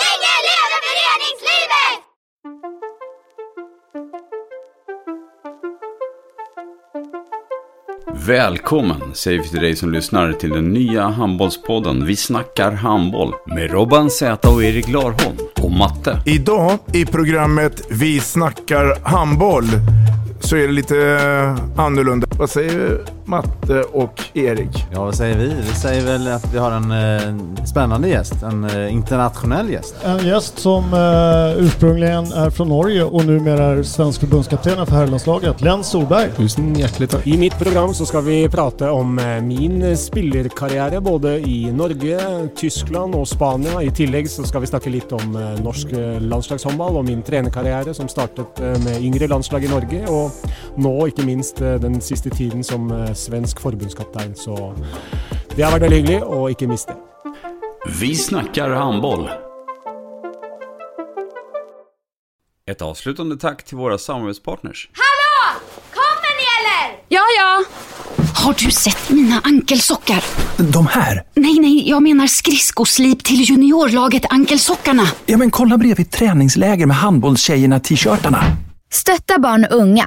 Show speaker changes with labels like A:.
A: Länge leve föreningslivet!
B: Välkommen säger vi till dig som lyssnar till den nya handbollspodden Vi snackar handboll med Robban Z och Erik Larholm och Matte.
C: Idag i programmet Vi snackar handboll så är det lite eh, annorlunda. Vad säger Matte och Erik?
D: Ja, vad säger vi? Vi säger väl att vi har en eh, spännande gäst, en eh, internationell gäst.
E: En gäst som eh, ursprungligen är från Norge och numera är svensk förbundskapten för herrlandslaget, Lenn Solberg.
F: Tusen hjertelig takk. I mitt program så skal vi prate om eh, min spillerkarriere både i Norge, Tyskland og Spania. I tillegg så skal vi snakke litt om eh, norsk eh, landslagshåndball og min trenerkarriere som startet eh, med yngre landslag i Norge, og nå ikke minst eh, den siste tiden som eh, svensk forbundskaptein. Så det har vært veldig hyggelig, og ikke mist det.
B: Vi snackar handboll. Ett avslutande tack till våra samarbetspartners.
A: Hallå! Kommer ni eller?
G: Ja, ja. Har du sett mina ankelsockar?
H: De här?
G: Nej, nej, jag menar skridskoslip till juniorlaget Ankelsockarna.
H: Ja, men kolla bredvid träningsläger med handbollstjejerna-t-shirtarna.
I: Stötta barn och unga.